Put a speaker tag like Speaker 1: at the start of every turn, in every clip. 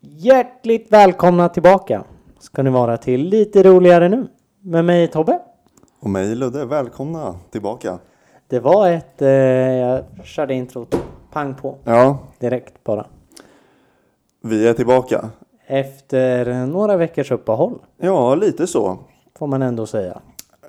Speaker 1: Hjärtligt välkomna tillbaka ska ni vara till Lite roligare nu med mig Tobbe.
Speaker 2: Och mig Ludde, välkomna tillbaka.
Speaker 1: Det var ett, eh, jag körde introt pang på
Speaker 2: Ja,
Speaker 1: direkt bara.
Speaker 2: vi är tillbaka.
Speaker 1: Efter några veckors uppehåll
Speaker 2: Ja, lite så.
Speaker 1: får man ändå säga.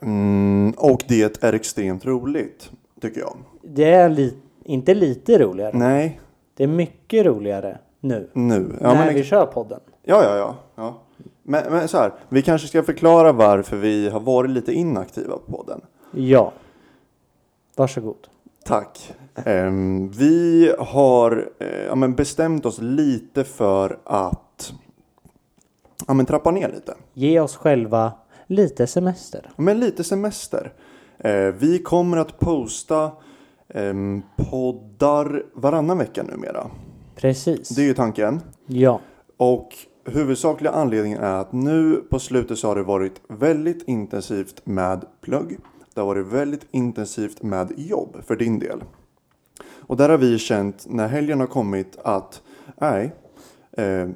Speaker 2: Mm, och det är extremt roligt, tycker jag.
Speaker 1: Det är li- inte lite roligare,
Speaker 2: Nej,
Speaker 1: det är mycket roligare nu
Speaker 2: nu. Ja,
Speaker 1: när
Speaker 2: men, liksom-
Speaker 1: vi kör podden.
Speaker 2: ja, ja. ja, ja. Men, men så här, vi kanske ska förklara varför vi har varit lite inaktiva på podden.
Speaker 1: Ja, varsågod.
Speaker 2: Tack. Ehm, vi har eh, ja, men bestämt oss lite för att ja, men trappa ner lite.
Speaker 1: Ge oss själva lite semester.
Speaker 2: Men lite semester. Eh, vi kommer att posta ehm, poddar varannan vecka numera.
Speaker 1: Precis.
Speaker 2: Det är ju tanken.
Speaker 1: Ja,
Speaker 2: Och huvudsakliga anledningen är att nu på slutet så har det varit väldigt intensivt med plugg. Det har varit väldigt intensivt med jobb för din del. Och där har vi känt när helgen har kommit att nej, eh,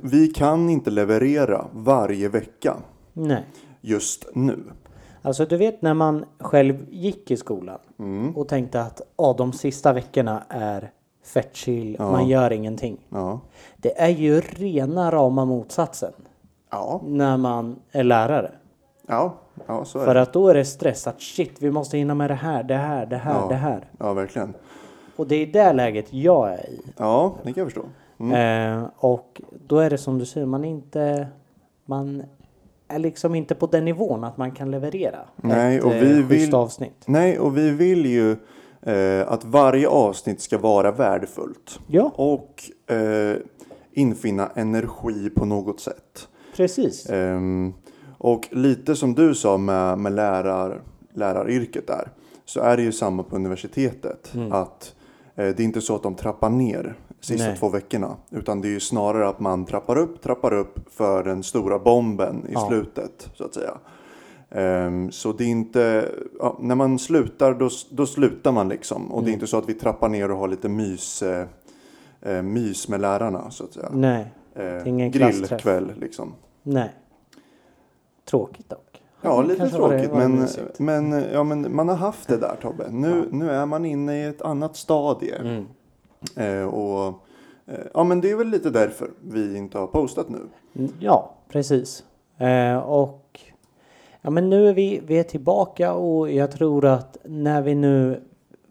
Speaker 2: vi kan inte leverera varje vecka
Speaker 1: nej.
Speaker 2: just nu.
Speaker 1: Alltså du vet när man själv gick i skolan
Speaker 2: Mm.
Speaker 1: och tänkte att ah, de sista veckorna är fett chill, man gör ingenting.
Speaker 2: Ja.
Speaker 1: Det är ju rena rama motsatsen
Speaker 2: Ja,
Speaker 1: när man är lärare.
Speaker 2: ja, ja så är
Speaker 1: För
Speaker 2: det.
Speaker 1: att då är det stressat, shit vi måste hinna med det här, det här, det här,
Speaker 2: Ja.
Speaker 1: det här.
Speaker 2: Ja, verkligen.
Speaker 1: Och det är det läget jag är i.
Speaker 2: Ja, det kan jag förstå.
Speaker 1: Eh, och då är det som du säger, man är inte... Man är liksom inte på den nivån att man kan leverera
Speaker 2: Nej,
Speaker 1: ett
Speaker 2: och vi
Speaker 1: eh, schysst
Speaker 2: vill-
Speaker 1: avsnitt.
Speaker 2: Nej, och vi vill ju eh, att varje avsnitt ska vara värdefullt
Speaker 1: Ja,
Speaker 2: och eh, infinna energi på något sätt.
Speaker 1: precis.
Speaker 2: Ehm, och lite som du sa med, med lärar, läraryrket där, så är det ju samma på universitetet.
Speaker 1: Mm.
Speaker 2: Att eh, det är inte så att de trappar ner sista
Speaker 1: Nej.
Speaker 2: två veckorna, utan det är ju snarare att man trappar upp, trappar upp för den stora bomben i
Speaker 1: Ja.
Speaker 2: slutet, så att säga. Ehm, så det är inte, ja, när man slutar då, då slutar man liksom. Och
Speaker 1: Mm.
Speaker 2: det är inte så att vi trappar ner och har lite mys, eh, eh, mys med lärarna så att säga.
Speaker 1: Nej,
Speaker 2: Eh,
Speaker 1: Mm. ingen klassträff.
Speaker 2: grillkväll liksom.
Speaker 1: nej. Tråkigt dock.
Speaker 2: Ja,
Speaker 1: Det
Speaker 2: lite
Speaker 1: Mm, kanske var det-
Speaker 2: tråkigt,
Speaker 1: var det
Speaker 2: men,
Speaker 1: mysigt.
Speaker 2: men, ja, men man har haft det där Tobbe. Nu, nu är man inne i ett annat stadie.
Speaker 1: Mm.
Speaker 2: Eh, och, eh, ja, men det är väl lite därför vi inte har postat nu.
Speaker 1: Mm, Ja, precis. Eh, och ja, men nu är vi, vi är tillbaka och jag tror att när vi nu...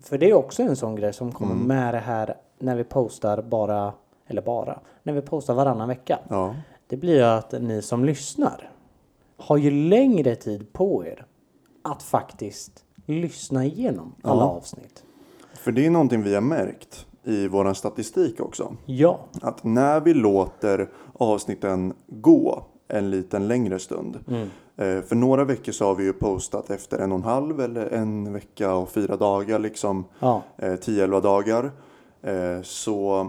Speaker 1: För det är också en sån grej som kommer med det här när vi postar bara... Eller bara. När vi postar varannan vecka.
Speaker 2: Ja,
Speaker 1: Det blir ju att ni som lyssnar har ju längre tid på er att faktiskt lyssna igenom alla
Speaker 2: Ja.
Speaker 1: avsnitt.
Speaker 2: för det är någonting vi har märkt i vår statistik också.
Speaker 1: Ja,
Speaker 2: Att när vi låter avsnitten gå en liten längre stund. Eh, för några veckor så har vi ju postat efter en och en halv eller en vecka och fyra dagar liksom.
Speaker 1: ja,
Speaker 2: eh, 10-11 dagar eh, så,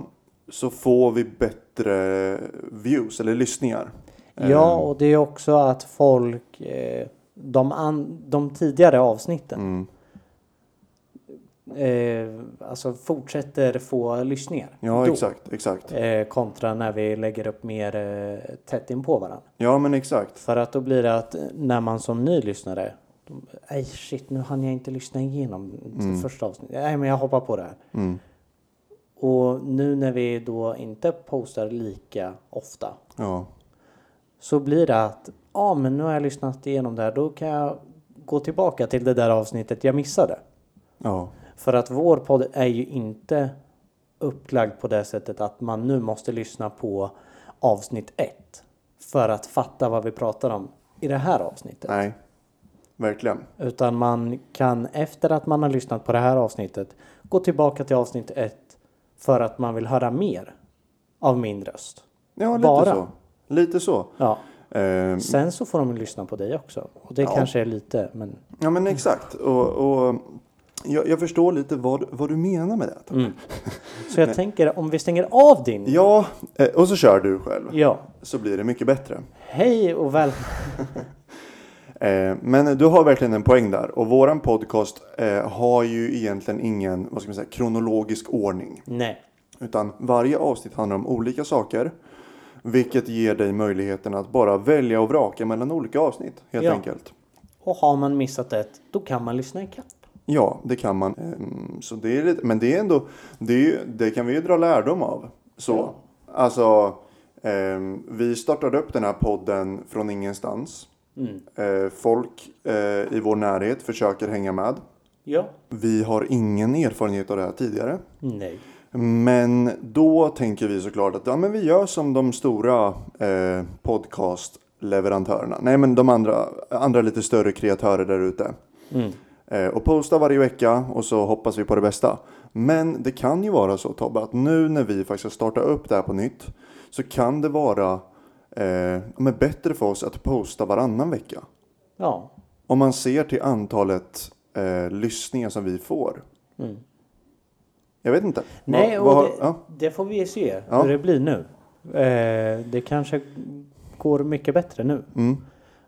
Speaker 2: så får vi bättre views eller lyssningar. Eh,
Speaker 1: Ja,
Speaker 2: Ehm.
Speaker 1: och det är också att folk, eh, de, an, de tidigare avsnitten,
Speaker 2: Mm.
Speaker 1: eh, alltså fortsätter få lyssningar.
Speaker 2: Ja,
Speaker 1: då,
Speaker 2: exakt, exakt.
Speaker 1: Eh, kontra när vi lägger upp mer eh, tätt in på varandra.
Speaker 2: Ja, men exakt.
Speaker 1: För att då blir det att eh, när man som ny lyssnare, de- nej shit nu hann jag inte lyssna igenom det första avsnittet, nej men jag hoppar på det här.
Speaker 2: Mm.
Speaker 1: Och nu när vi då inte postar lika ofta
Speaker 2: Ja,
Speaker 1: så blir det att ja, men nu har jag lyssnat igenom det här. Då kan jag gå tillbaka till det där avsnittet jag missade.
Speaker 2: ja,
Speaker 1: För att vår podd är ju inte upplagd på det sättet att man nu måste lyssna på avsnitt ett för att fatta vad vi pratar om i det här avsnittet.
Speaker 2: nej, verkligen.
Speaker 1: Utan man kan efter att man har lyssnat på det här avsnittet gå tillbaka till avsnitt ett för att man vill höra mer av min röst.
Speaker 2: Ja, lite
Speaker 1: Bara.
Speaker 2: så. Lite så.
Speaker 1: Ja.
Speaker 2: Eh,
Speaker 1: Sen så får de lyssna på dig också. Och det
Speaker 2: Ja.
Speaker 1: kanske är lite, men
Speaker 2: ja, men exakt. Och, och jag, jag förstår lite vad, vad du menar med det.
Speaker 1: Mm. Så jag tänker om vi stänger av din. Ja.
Speaker 2: Ja, eh, och så kör du själv. Så blir det mycket bättre.
Speaker 1: Hej och välkommen.
Speaker 2: Eh, Men du har verkligen en poäng där. Och våran podcast eh, har ju egentligen ingen vad ska man säga, kronologisk ordning.
Speaker 1: Nej.
Speaker 2: Utan varje avsnitt handlar om olika saker. Vilket ger dig möjligheten att bara välja och vraka mellan olika avsnitt helt
Speaker 1: Ja.
Speaker 2: enkelt.
Speaker 1: Och har man missat ett, då kan man lyssna ikapp.
Speaker 2: Ja, det kan man. Ehm, Så det är lite, men det är ändå, det, är, ju- det kan vi ju dra lärdom av. Så,
Speaker 1: Ja.
Speaker 2: alltså, ehm, vi startade upp den här podden från ingenstans.
Speaker 1: Mm.
Speaker 2: Eh, folk eh, i vår närhet försöker hänga med.
Speaker 1: Ja.
Speaker 2: Vi har ingen erfarenhet av det här tidigare.
Speaker 1: Nej.
Speaker 2: Men då tänker vi såklart att ja, men vi gör som de stora eh, podcastleverantörerna. Nej, men de andra, andra lite större kreatörer där ute.
Speaker 1: Mm.
Speaker 2: Eh, och posta varje vecka och så hoppas vi på det bästa. Men det kan ju vara så Tobbe att nu när vi faktiskt startar upp det här på nytt så kan det vara eh, ja, men bättre för oss att posta varannan vecka.
Speaker 1: Ja.
Speaker 2: Om man ser till antalet eh, lyssningar som vi får.
Speaker 1: Mm.
Speaker 2: Jag vet inte.
Speaker 1: Nej,
Speaker 2: Vad-
Speaker 1: och
Speaker 2: vad har-
Speaker 1: det,
Speaker 2: ja.
Speaker 1: det får vi se
Speaker 2: Ja.
Speaker 1: hur det blir nu. Eh, det kanske går mycket bättre nu.
Speaker 2: Mm.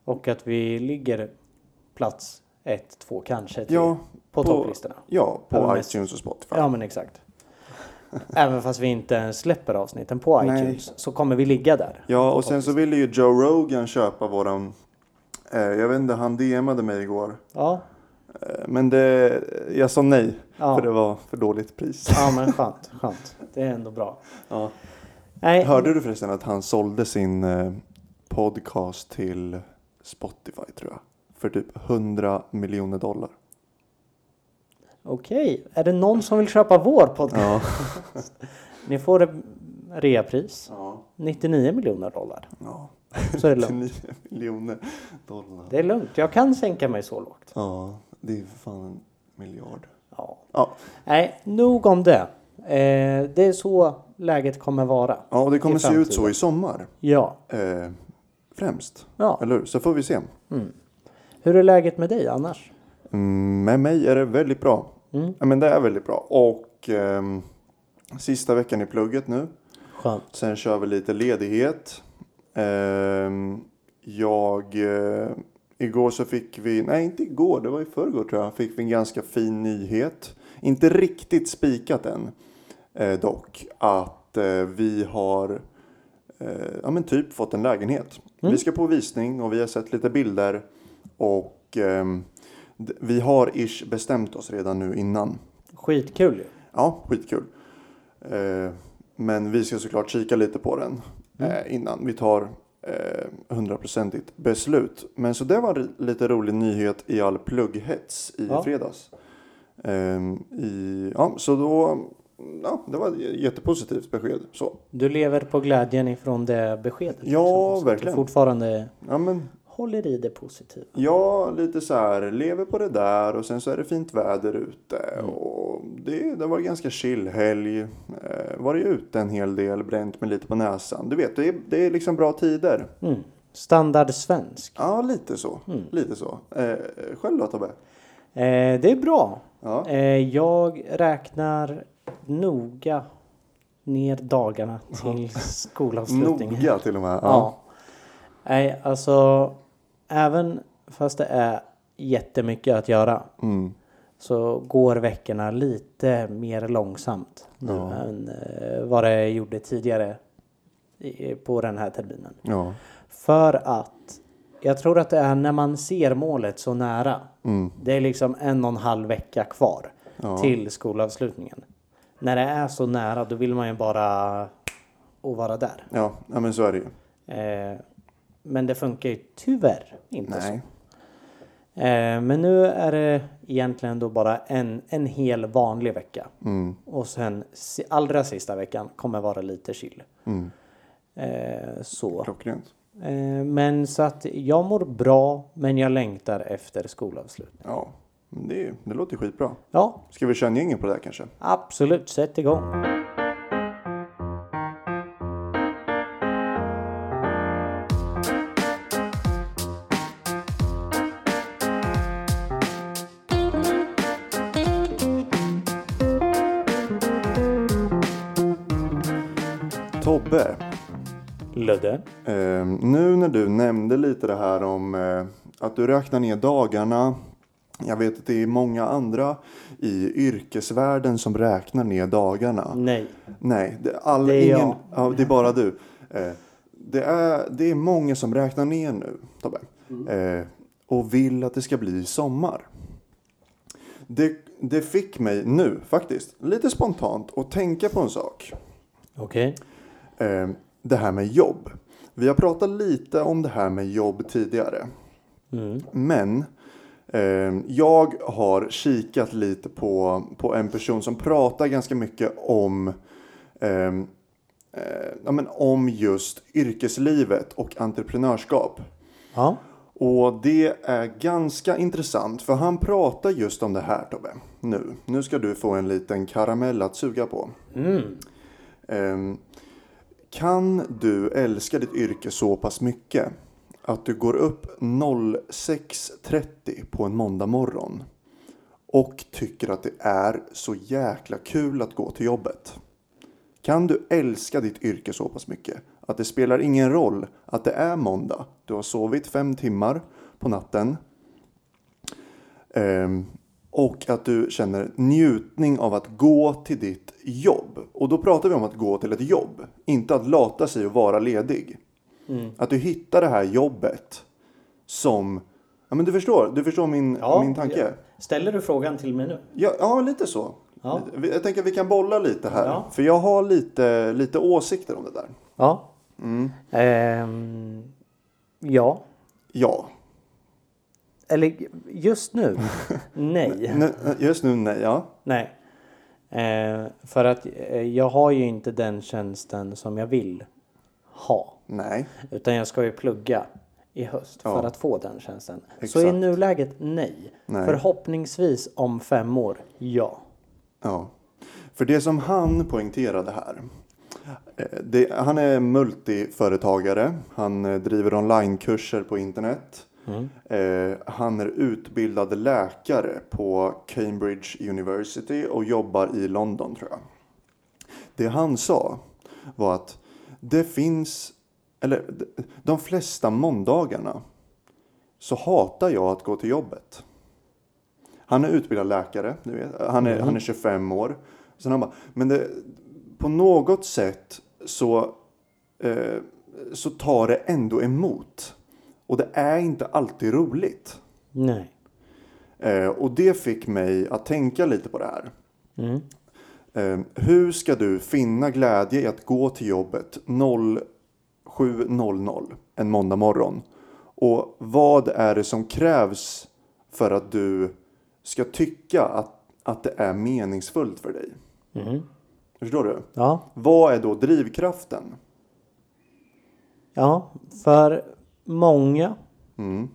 Speaker 1: Och att vi ligger plats ett, två, kanske tre
Speaker 2: Ja,
Speaker 1: på,
Speaker 2: på-
Speaker 1: topplistorna.
Speaker 2: ja, på
Speaker 1: Ja, men-
Speaker 2: iTunes och Spotify.
Speaker 1: Ja, men exakt. Även fast vi inte ens släpper avsnitten på
Speaker 2: Nej.
Speaker 1: iTunes så kommer vi ligga där.
Speaker 2: Ja, och sen så ville ju Joe Rogan köpa våran... Eh, jag vet inte, han DMade mig igår.
Speaker 1: Ja,
Speaker 2: Eh, men det, jag sa nej,
Speaker 1: Ja.
Speaker 2: för det var för dåligt pris.
Speaker 1: ja men skönt, skönt. Det är ändå bra.
Speaker 2: Ja.
Speaker 1: Nej,
Speaker 2: Hörde du förresten att han sålde sin eh, podcast till Spotify tror jag? För typ 100 miljoner dollar.
Speaker 1: okej. Är det någon som vill köpa vår podcast?
Speaker 2: Ja.
Speaker 1: Ni får ett reapris.
Speaker 2: ja.
Speaker 1: 99 miljoner dollar.
Speaker 2: ja.
Speaker 1: Så är det lugnt.
Speaker 2: 9 miljoner dollar.
Speaker 1: Det är lugnt. Jag kan sänka mig så lågt.
Speaker 2: Ja, det är för fan en miljard.
Speaker 1: Ja.
Speaker 2: Ja,
Speaker 1: Nej, nog om det. Eh, det är så läget kommer vara.
Speaker 2: ja och det kommer
Speaker 1: I
Speaker 2: se ut så
Speaker 1: framtiden.
Speaker 2: i sommar.
Speaker 1: Ja.
Speaker 2: Eh, främst.
Speaker 1: ja. Mm.
Speaker 2: Eller hur? Så får vi se.
Speaker 1: Hur är läget med dig annars?
Speaker 2: Mm, med mig är det väldigt bra.
Speaker 1: Mm.
Speaker 2: Ja, men det är väldigt bra. Och ehm, sista veckan i plugget nu.
Speaker 1: Skönt.
Speaker 2: Sen kör vi lite ledighet. Ehm, jag... Eh, igår så fick vi... Nej, inte igår. Det var i förrgår tror jag. Fick vi en ganska fin nyhet. Inte riktigt spikat än. Eh, dock. Att eh, vi har... Eh, ja men typ fått en lägenhet. Vi ska på visning och vi har sett lite bilder. Och... ehm, d- vi har ish bestämt oss redan nu innan.
Speaker 1: Skitkul ju.
Speaker 2: Ja, skitkul. Eh, men vi ska såklart kika lite på den eh, innan vi tar eh, hundraprocentigt beslut. Men så det var en lite rolig nyhet i all plugghets i
Speaker 1: Ja.
Speaker 2: fredags. Eh, i, ja, så då, ja, det var ett jättepositivt besked. Så,
Speaker 1: Du lever på glädjen ifrån det beskedet.
Speaker 2: Ja,
Speaker 1: liksom. Så att
Speaker 2: verkligen.
Speaker 1: Du fortfarande
Speaker 2: ja, men,
Speaker 1: håller i det positiva.
Speaker 2: ja, lite så här, lever på det där och sen så är det fint väder ute.
Speaker 1: Mm.
Speaker 2: Och det, det var en ganska chill helg. Eh, varit ute en hel del, bränt mig lite på näsan. Du vet, det är, det är liksom bra tider.
Speaker 1: Mm. Standard svensk.
Speaker 2: Ja, lite så.
Speaker 1: Mm.
Speaker 2: Lite så. Eh, själv då Tobbe?
Speaker 1: Eh, det är bra.
Speaker 2: Ja.
Speaker 1: Eh, jag räknar noga ner dagarna till skolavslutningen.
Speaker 2: Noga till och med.
Speaker 1: Ja. Nej, alltså. Även fast det är jättemycket att göra
Speaker 2: Mm.
Speaker 1: så går veckorna lite mer långsamt nu
Speaker 2: Ja.
Speaker 1: än eh, vad det gjorde tidigare i, på den här terminen.
Speaker 2: ja.
Speaker 1: För att jag tror att det är när man ser målet så nära.
Speaker 2: Mm.
Speaker 1: Det är liksom en och en halv vecka kvar
Speaker 2: Ja.
Speaker 1: till skolavslutningen. När det är så nära då vill man ju bara och vara där.
Speaker 2: Ja. ja, men så är det ju.
Speaker 1: Eh, men det funkar ju tyvärr inte så.
Speaker 2: Nej.
Speaker 1: Eh, men nu är det egentligen då bara en, en hel vanlig vecka.
Speaker 2: Mm.
Speaker 1: Och sen si- allra sista veckan kommer vara lite chill.
Speaker 2: Mm.
Speaker 1: Eh, så.
Speaker 2: Klockrent.
Speaker 1: Eh, men så att jag mår bra men jag längtar efter skolavslut.
Speaker 2: Ja, Men det, är ju- det låter skitbra.
Speaker 1: Ja,
Speaker 2: Ska vi köra en jingel på det här kanske?
Speaker 1: absolut. Sätt igång.
Speaker 2: Tobbe,
Speaker 1: Ludde.
Speaker 2: eh, nu när du nämnde lite det här om eh, att du räknar ner dagarna. Jag vet att det är många andra i yrkesvärlden som räknar ner dagarna.
Speaker 1: Nej.
Speaker 2: Nej, det, all,
Speaker 1: Mm. Det är
Speaker 2: ingen,
Speaker 1: jag.
Speaker 2: ja, det är bara du. Eh, det är, det är många som räknar ner nu, Tobbe.
Speaker 1: Mm.
Speaker 2: Eh, och vill att det ska bli sommar. Det, det fick mig nu faktiskt, lite spontant, att tänka på en sak.
Speaker 1: Okej.
Speaker 2: Eh, det här med jobb. Vi har pratat lite om det här med jobb tidigare.
Speaker 1: Mm.
Speaker 2: Men eh, jag har kikat lite på, på en person som pratar ganska mycket om, eh, eh, ja, men om just yrkeslivet och entreprenörskap.
Speaker 1: Ja.
Speaker 2: Och det är ganska intressant för han pratar just om det här Tobbe. Nu, nu ska du få en liten karamell att suga på.
Speaker 1: Mm.
Speaker 2: Ehm, kan du älska ditt yrke så pass mycket att du går upp 06.30 på en måndag morgon och tycker att det är så jäkla kul att gå till jobbet? Kan du älska ditt yrke så pass mycket att det spelar ingen roll att det är måndag, du har sovit fem timmar på natten Ehm, och att du känner njutning av att gå till ditt jobb. Och då pratar vi om att gå till ett jobb, inte att lata sig och vara ledig.
Speaker 1: Mm.
Speaker 2: Att du hittar det här jobbet som... Ja, men du förstår, du förstår min,
Speaker 1: Ja,
Speaker 2: min tanke.
Speaker 1: Ställer du frågan till mig nu?
Speaker 2: Ja, ja lite så.
Speaker 1: Ja.
Speaker 2: Vi- Jag tänker att vi kan bolla lite här.
Speaker 1: Ja.
Speaker 2: För jag har lite, lite åsikter om det där.
Speaker 1: Ja. Ehm, ja.
Speaker 2: Ja.
Speaker 1: Eller just nu? Nej.
Speaker 2: N- just nu, nej. Ja.
Speaker 1: Nej. Eh, för att eh, jag har ju inte den tjänsten som jag vill ha.
Speaker 2: Nej.
Speaker 1: Utan jag ska ju plugga i höst
Speaker 2: Ja.
Speaker 1: för att få den tjänsten. Så i
Speaker 2: Exakt.
Speaker 1: nuläget, nej.
Speaker 2: Nej.
Speaker 1: Förhoppningsvis om fem år, ja.
Speaker 2: Ja. För det som han poängterade här. eh, Det, han är multiföretagare. Han eh, driver onlinekurser på internet. Eh, han är utbildad läkare på Cambridge University och jobbar i London tror jag. Det han sa var att det finns, eller d- de flesta måndagarna så hatar jag att gå till jobbet. Han är utbildad läkare, du vet. Han, är, han är 25 år. Sen han bara, men det, på något sätt så, eh, så tar det ändå emot. Och det är inte alltid roligt.
Speaker 1: Nej.
Speaker 2: Eh, och det fick mig att tänka lite på det här.
Speaker 1: Mm.
Speaker 2: Eh, hur ska du finna glädje i att gå till jobbet 07.00 en måndag morgon? Och vad är det som krävs för att du ska tycka att, att det är meningsfullt för dig?
Speaker 1: Mm.
Speaker 2: Förstår du?
Speaker 1: Ja.
Speaker 2: Vad är då drivkraften?
Speaker 1: Ja, för många
Speaker 2: Mm,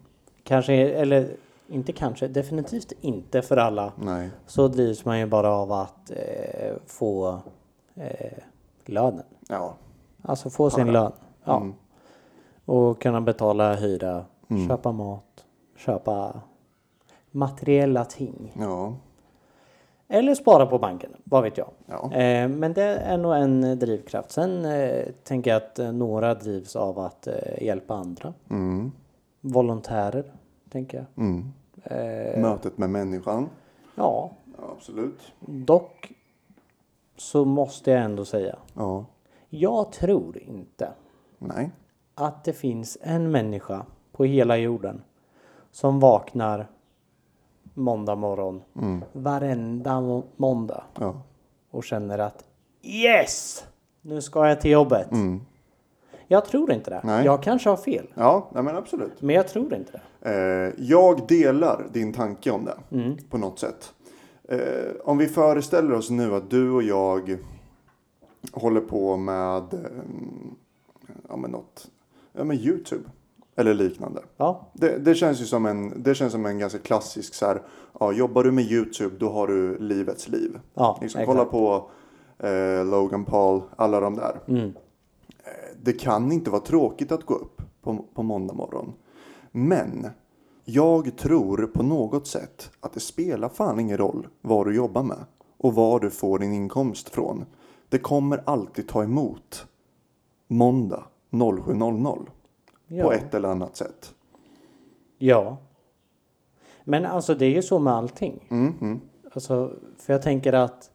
Speaker 1: kanske, eller inte kanske, definitivt inte för alla,
Speaker 2: nej.
Speaker 1: så drivs man ju bara av att eh, få eh, lönen.
Speaker 2: Ja.
Speaker 1: Alltså få sin lön. Ja.
Speaker 2: Mm.
Speaker 1: Och kunna betala hyra, köpa mat, köpa materiella ting.
Speaker 2: Ja.
Speaker 1: Eller spara på banken, vad vet jag.
Speaker 2: Ja.
Speaker 1: Eh, men det är nog en drivkraft. Sen eh, tänker jag att eh, några drivs av att eh, hjälpa andra.
Speaker 2: Mm,
Speaker 1: Volontärer, tänker jag. Eh,
Speaker 2: mm. Mötet med människan.
Speaker 1: Ja,
Speaker 2: Ja, absolut.
Speaker 1: dock så måste jag ändå säga.
Speaker 2: Ja.
Speaker 1: Jag tror inte
Speaker 2: Nej.
Speaker 1: att det finns en människa på hela jorden som vaknar måndag morgon
Speaker 2: Mm.
Speaker 1: varenda må- måndag
Speaker 2: Ja.
Speaker 1: och känner att yes, nu ska jag till jobbet.
Speaker 2: Mm.
Speaker 1: Jag tror inte det.
Speaker 2: Nej.
Speaker 1: Jag kanske har fel,
Speaker 2: Ja, nej men absolut.
Speaker 1: men jag tror inte det.
Speaker 2: Eh, jag delar din tanke om det
Speaker 1: Mm.
Speaker 2: på något sätt. Eh, om vi föreställer oss nu att du och jag håller på med, eh, ja, men något, ja, men Youtube eller liknande.
Speaker 1: Ja,
Speaker 2: Det, det känns ju som en, det känns som en ganska klassisk så här, ja, jobbar du med Youtube då har du livets liv.
Speaker 1: ja
Speaker 2: Liksom,
Speaker 1: exakt.
Speaker 2: kolla på eh, Logan Paul, alla de där.
Speaker 1: Mm.
Speaker 2: Det kan inte vara tråkigt att gå upp på, på måndag morgon. Men jag tror på något sätt att det spelar fan ingen roll vad du jobbar med och var du får din inkomst från. Det kommer alltid ta emot måndag 07.00 på
Speaker 1: Ja.
Speaker 2: ett eller annat sätt.
Speaker 1: ja. Men alltså det är ju så med allting.
Speaker 2: Mm, mm,
Speaker 1: Alltså, för jag tänker att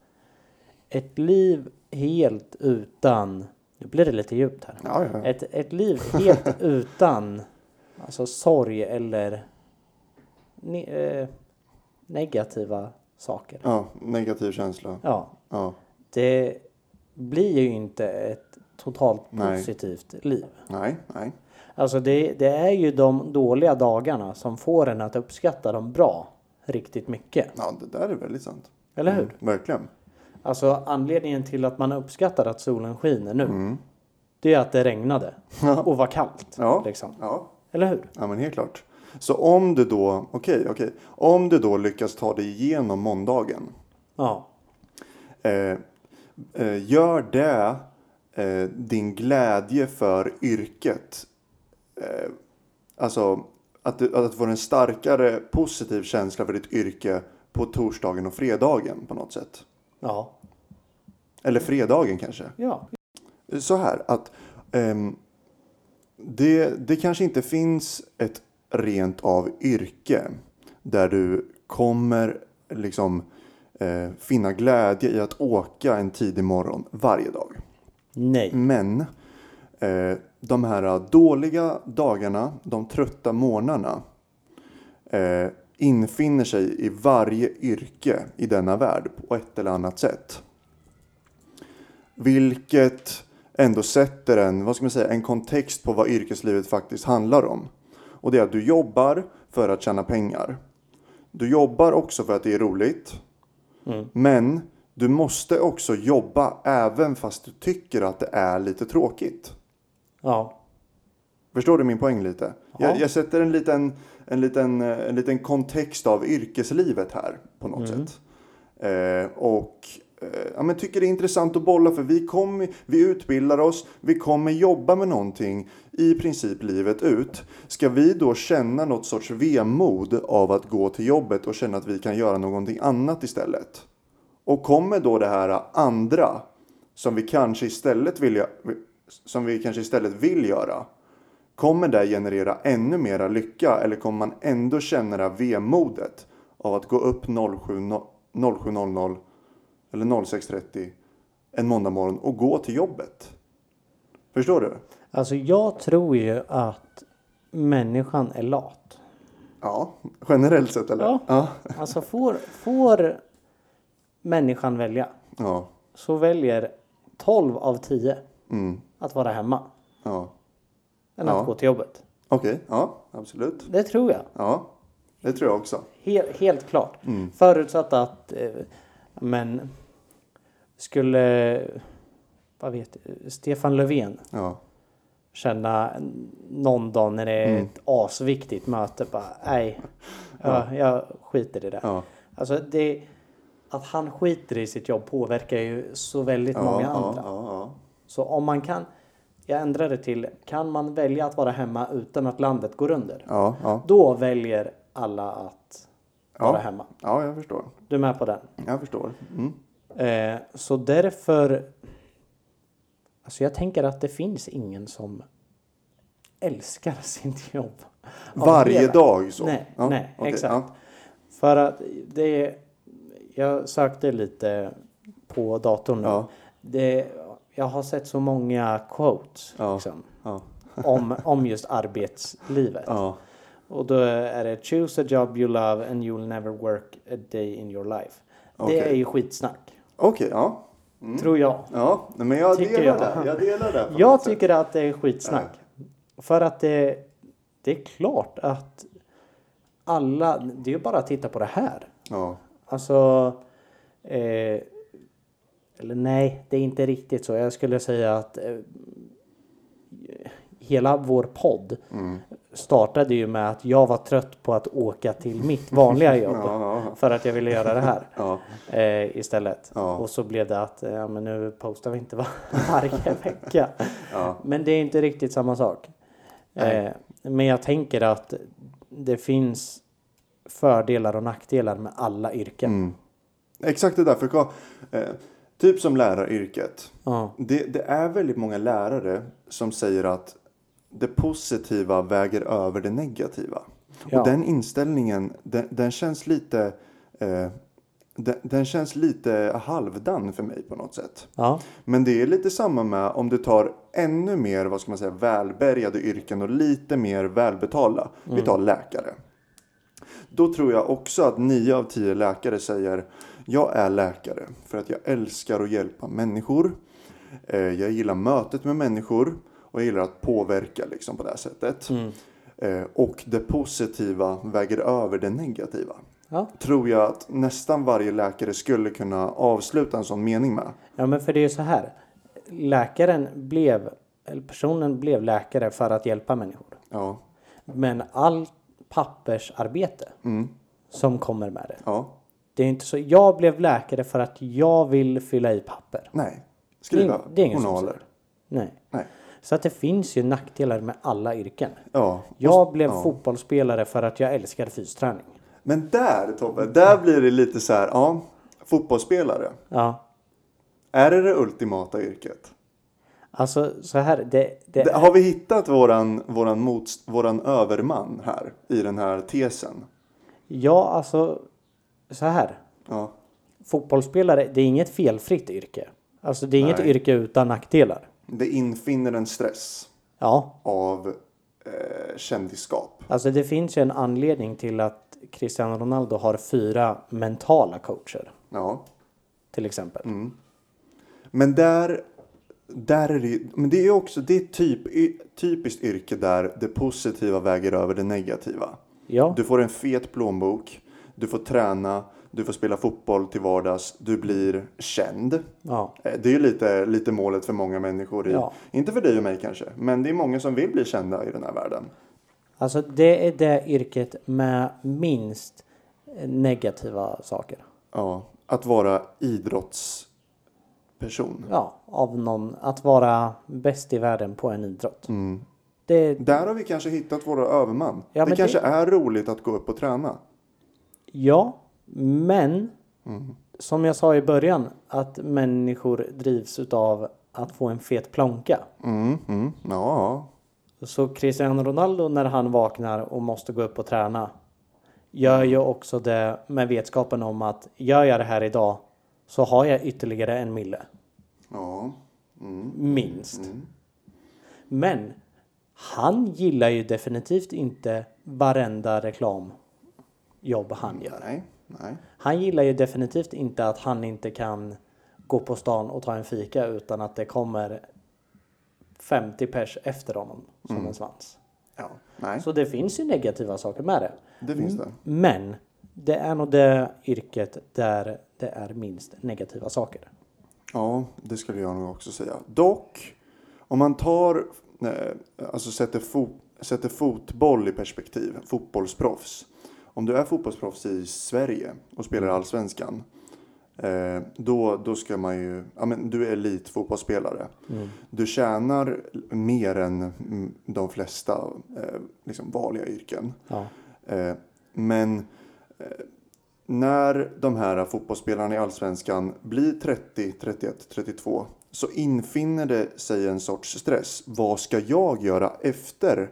Speaker 1: ett liv helt utan Nu blir det lite djupt här.
Speaker 2: Ja, ja.
Speaker 1: Ett, ett liv helt utan alltså, sorg eller ne- eh, negativa saker.
Speaker 2: ja, negativ känsla.
Speaker 1: Ja,
Speaker 2: Ja,
Speaker 1: det blir ju inte ett totalt
Speaker 2: Nej.
Speaker 1: positivt liv.
Speaker 2: nej, nej.
Speaker 1: Alltså det, det är ju de dåliga dagarna som får en att uppskatta de bra riktigt mycket.
Speaker 2: Ja, det där är väldigt sant.
Speaker 1: Eller hur?
Speaker 2: Mm, verkligen.
Speaker 1: Alltså anledningen till att man uppskattar att solen skiner nu.
Speaker 2: Mm.
Speaker 1: Det är att det regnade
Speaker 2: Ja.
Speaker 1: och var kallt.
Speaker 2: Ja.
Speaker 1: Liksom.
Speaker 2: Ja,
Speaker 1: Eller hur?
Speaker 2: Ja men helt klart. Så om du då, okej, okej. Om du då lyckas ta dig igenom måndagen.
Speaker 1: Ja.
Speaker 2: Eh, eh, gör det eh, din glädje för yrket. Eh, alltså att du, att du får en starkare positiv känsla för ditt yrke på torsdagen och fredagen på något sätt.
Speaker 1: Ja.
Speaker 2: Eller fredagen kanske.
Speaker 1: Ja.
Speaker 2: så här att ehm, det, det kanske inte finns ett rent av yrke där du kommer liksom eh, finna glädje i att åka en tidig morgon varje dag.
Speaker 1: Nej.
Speaker 2: Men eh, de här dåliga dagarna, de trötta morgnarna eh, infinner sig i varje yrke i denna värld på ett eller annat sätt. Vilket ändå sätter en, vad ska man säga, en kontext på vad yrkeslivet faktiskt handlar om. Och det är att du jobbar för att tjäna pengar. Du jobbar också för att det är roligt.
Speaker 1: Mm.
Speaker 2: Men du måste också jobba även fast du tycker att det är lite tråkigt.
Speaker 1: Ja.
Speaker 2: Förstår du min poäng lite?
Speaker 1: Ja.
Speaker 2: Jag, jag sätter en liten, en, liten, eh, en liten kontext av yrkeslivet här på något sätt. Eh, och eh, ja, men tycker det är intressant att bolla för vi, kom, vi utbildar oss, vi kommer jobba med någonting i princip livet ut. Ska vi då känna något sorts vemod av att gå till jobbet och känna att vi kan göra någonting annat istället? Och kommer då det här andra som vi kanske istället vill, som vi kanske istället vill göra Kommer det generera ännu mera lycka eller kommer man ändå känna det här vemodet av att gå upp 07.00 07.00 eller 06.30 en måndag morgon och gå till jobbet? Förstår du?
Speaker 1: Alltså jag tror ju att människan är lat.
Speaker 2: Ja, generellt sett eller?
Speaker 1: Ja.
Speaker 2: Ja.
Speaker 1: Alltså får, får människan välja
Speaker 2: Ja.
Speaker 1: så väljer 12 av 10
Speaker 2: Mm.
Speaker 1: att vara hemma
Speaker 2: ja.
Speaker 1: än
Speaker 2: Ja.
Speaker 1: att gå till jobbet.
Speaker 2: Okej, ja, absolut.
Speaker 1: Det tror jag.
Speaker 2: Ja, det tror jag också.
Speaker 1: Helt, helt klart.
Speaker 2: Mm.
Speaker 1: Förutsatt att eh, men skulle vad vet, Stefan Löfven
Speaker 2: Ja,
Speaker 1: känna någon dag när det är
Speaker 2: Mm.
Speaker 1: ett asviktigt möte. Bara, nej, jag, jag skiter i det.
Speaker 2: ja,
Speaker 1: Alltså det, att han skiter i sitt jobb påverkar ju så väldigt
Speaker 2: ja,
Speaker 1: många
Speaker 2: ja,
Speaker 1: andra.
Speaker 2: ja,
Speaker 1: Så om man kan, jag ändrar det till, kan man välja att vara hemma utan att landet går under?
Speaker 2: ja, ja,
Speaker 1: Då väljer alla att vara
Speaker 2: ja,
Speaker 1: hemma.
Speaker 2: ja, jag förstår.
Speaker 1: Du är med på den?
Speaker 2: Jag förstår. Mm.
Speaker 1: Eh, så därför, alltså jag tänker att det finns ingen som älskar sitt jobb. Av
Speaker 2: Varje
Speaker 1: hela-
Speaker 2: dag så?
Speaker 1: Nej,
Speaker 2: Ja,
Speaker 1: nej
Speaker 2: okej,
Speaker 1: exakt.
Speaker 2: ja.
Speaker 1: För att det är, jag sökte lite på datorn nu.
Speaker 2: Ja.
Speaker 1: Det, jag har sett så många quotes
Speaker 2: Ja.
Speaker 1: liksom,
Speaker 2: Ja.
Speaker 1: om, om just arbetslivet.
Speaker 2: Ja.
Speaker 1: Och då är det choose a job you love and you'll never work a day in your life.
Speaker 2: Okej. Mm.
Speaker 1: Det är ju skitsnack,
Speaker 2: Okej, ja.
Speaker 1: tror jag.
Speaker 2: Ja, nej, men jag
Speaker 1: Tycker
Speaker 2: delar
Speaker 1: jag.
Speaker 2: det. Jag delar det. på något
Speaker 1: Jag
Speaker 2: sätt.
Speaker 1: tycker att det är skitsnack. För att det, det är klart att alla, det är ju bara att titta på det här.
Speaker 2: Ja.
Speaker 1: Alltså, eh, eller nej, det är inte riktigt så. Jag skulle säga att eh, hela vår podd
Speaker 2: Mm.
Speaker 1: startade ju med att jag var trött på att åka till mitt vanliga jobb.
Speaker 2: Ja, ja,
Speaker 1: För att jag ville göra det här
Speaker 2: ja.
Speaker 1: eh, istället.
Speaker 2: Ja.
Speaker 1: Och så blev det att eh, ja, men nu postar vi inte var- varje vecka.
Speaker 2: Ja.
Speaker 1: Men det är inte riktigt samma sak. Eh, men jag tänker att det finns fördelar och nackdelar med alla yrken.
Speaker 2: Mm. Exakt det där. För, ka- eh, typ som läraryrket.
Speaker 1: Ja.
Speaker 2: Det, det är väldigt många lärare som säger att det positiva väger över det negativa.
Speaker 1: Ja.
Speaker 2: Och den inställningen, den, den känns lite... Eh, den, den känns lite halvdan för mig på något sätt.
Speaker 1: Ja.
Speaker 2: Men det är lite samma med om du tar ännu mer, vad ska man säga, välbärgade yrken och lite mer välbetalda. Vi tar läkare. Då tror jag också att 9 av 10 läkare säger jag är läkare för att jag älskar att hjälpa människor. Eh, Jag gillar mötet med människor och jag gillar att påverka liksom på det här sättet.
Speaker 1: Mm.
Speaker 2: Eh, Och det positiva väger över det negativa.
Speaker 1: Ja.
Speaker 2: Tror jag att nästan varje läkare skulle kunna avsluta en sån mening med.
Speaker 1: ja, men för det är ju så här. Läkaren blev, eller personen blev läkare för att hjälpa människor.
Speaker 2: Ja,
Speaker 1: Men allt pappersarbete
Speaker 2: Mm.
Speaker 1: som kommer med det.
Speaker 2: ja,
Speaker 1: Det är ju inte så, jag blev läkare för att jag vill fylla i papper.
Speaker 2: nej.
Speaker 1: Det är-
Speaker 2: Skriva
Speaker 1: det är ingen som
Speaker 2: journaler.
Speaker 1: säger. Nej.
Speaker 2: Nej.
Speaker 1: Så att det finns ju nackdelar med alla yrken.
Speaker 2: Ja.
Speaker 1: Jag blev fotbollsspelare för att jag älskar fysträning.
Speaker 2: Men där Tobbe, där blir det lite så här, ja, fotbollsspelare.
Speaker 1: Ja.
Speaker 2: Är det det ultimata yrket?
Speaker 1: Alltså så här, det, det,
Speaker 2: Det- Har vi hittat våran, våran, motst- våran överman här i den här tesen?
Speaker 1: Ja, alltså så här.
Speaker 2: Ja,
Speaker 1: Fotbollsspelare, det är inget felfritt yrke. Alltså det är inget
Speaker 2: Nej.
Speaker 1: yrke utan nackdelar.
Speaker 2: det infinner en stress
Speaker 1: Ja,
Speaker 2: av eh, kändisskap.
Speaker 1: alltså det finns ju en anledning till att Cristiano Ronaldo har fyra mentala coacher.
Speaker 2: Ja.
Speaker 1: Till exempel.
Speaker 2: Men där, där är det ju, men det är ju också, det är ett typ, y- typiskt yrke där det positiva väger över det negativa.
Speaker 1: Ja,
Speaker 2: Du får en fet plånbok, du får träna, du får spela fotboll till vardags, du blir känd.
Speaker 1: ja,
Speaker 2: Eh, Det är ju lite, lite målet för många människor. I,
Speaker 1: Ja.
Speaker 2: Inte för dig och mig kanske, men det är många som vill bli kända i den här världen.
Speaker 1: alltså det är det yrket med minst negativa saker.
Speaker 2: Ja, att vara idrottsperson.
Speaker 1: Ja, av någon. Att vara bäst i världen på en idrott. Det,
Speaker 2: Där har vi kanske hittat våra överman.
Speaker 1: Ja,
Speaker 2: det
Speaker 1: men
Speaker 2: kanske
Speaker 1: det-
Speaker 2: är roligt att gå upp och träna.
Speaker 1: Ja, men som jag sa i början att människor drivs utav att få en fet plånka.
Speaker 2: Mm, mm, ja,
Speaker 1: Så Cristiano Ronaldo när han vaknar och måste gå upp och träna gör ju också det med vetskapen om att gör jag det här idag så har jag ytterligare en mille.
Speaker 2: ja. Mm.
Speaker 1: Minst. Men han gillar ju definitivt inte varenda reklamjobb han gör.
Speaker 2: Nej, nej.
Speaker 1: Han gillar ju definitivt inte att han inte kan gå på stan och ta en fika utan att det kommer 50 pers efter honom som en svans.
Speaker 2: Ja, Mm. nej.
Speaker 1: Så det finns ju negativa saker med det.
Speaker 2: Det finns
Speaker 1: Mm.
Speaker 2: det.
Speaker 1: Men det är nog det yrket där det är minst negativa saker.
Speaker 2: Ja, det skulle jag nog också säga. Dock, om man tar, eh, alltså sätter, fo- sätter fotboll i perspektiv, fotbollsproffs. Om du är fotbollsproffs i Sverige och spelar i allsvenskan, eh, då, då ska man ju, ja men du är elitfotbollsspelare. Du tjänar mer än mm, de flesta eh, liksom vanliga yrken.
Speaker 1: Ja.
Speaker 2: Eh, Men eh, när de här fotbollsspelarna i Allsvenskan blir 30, 31, 32 så infinner det sig en sorts stress. Vad ska jag göra efter,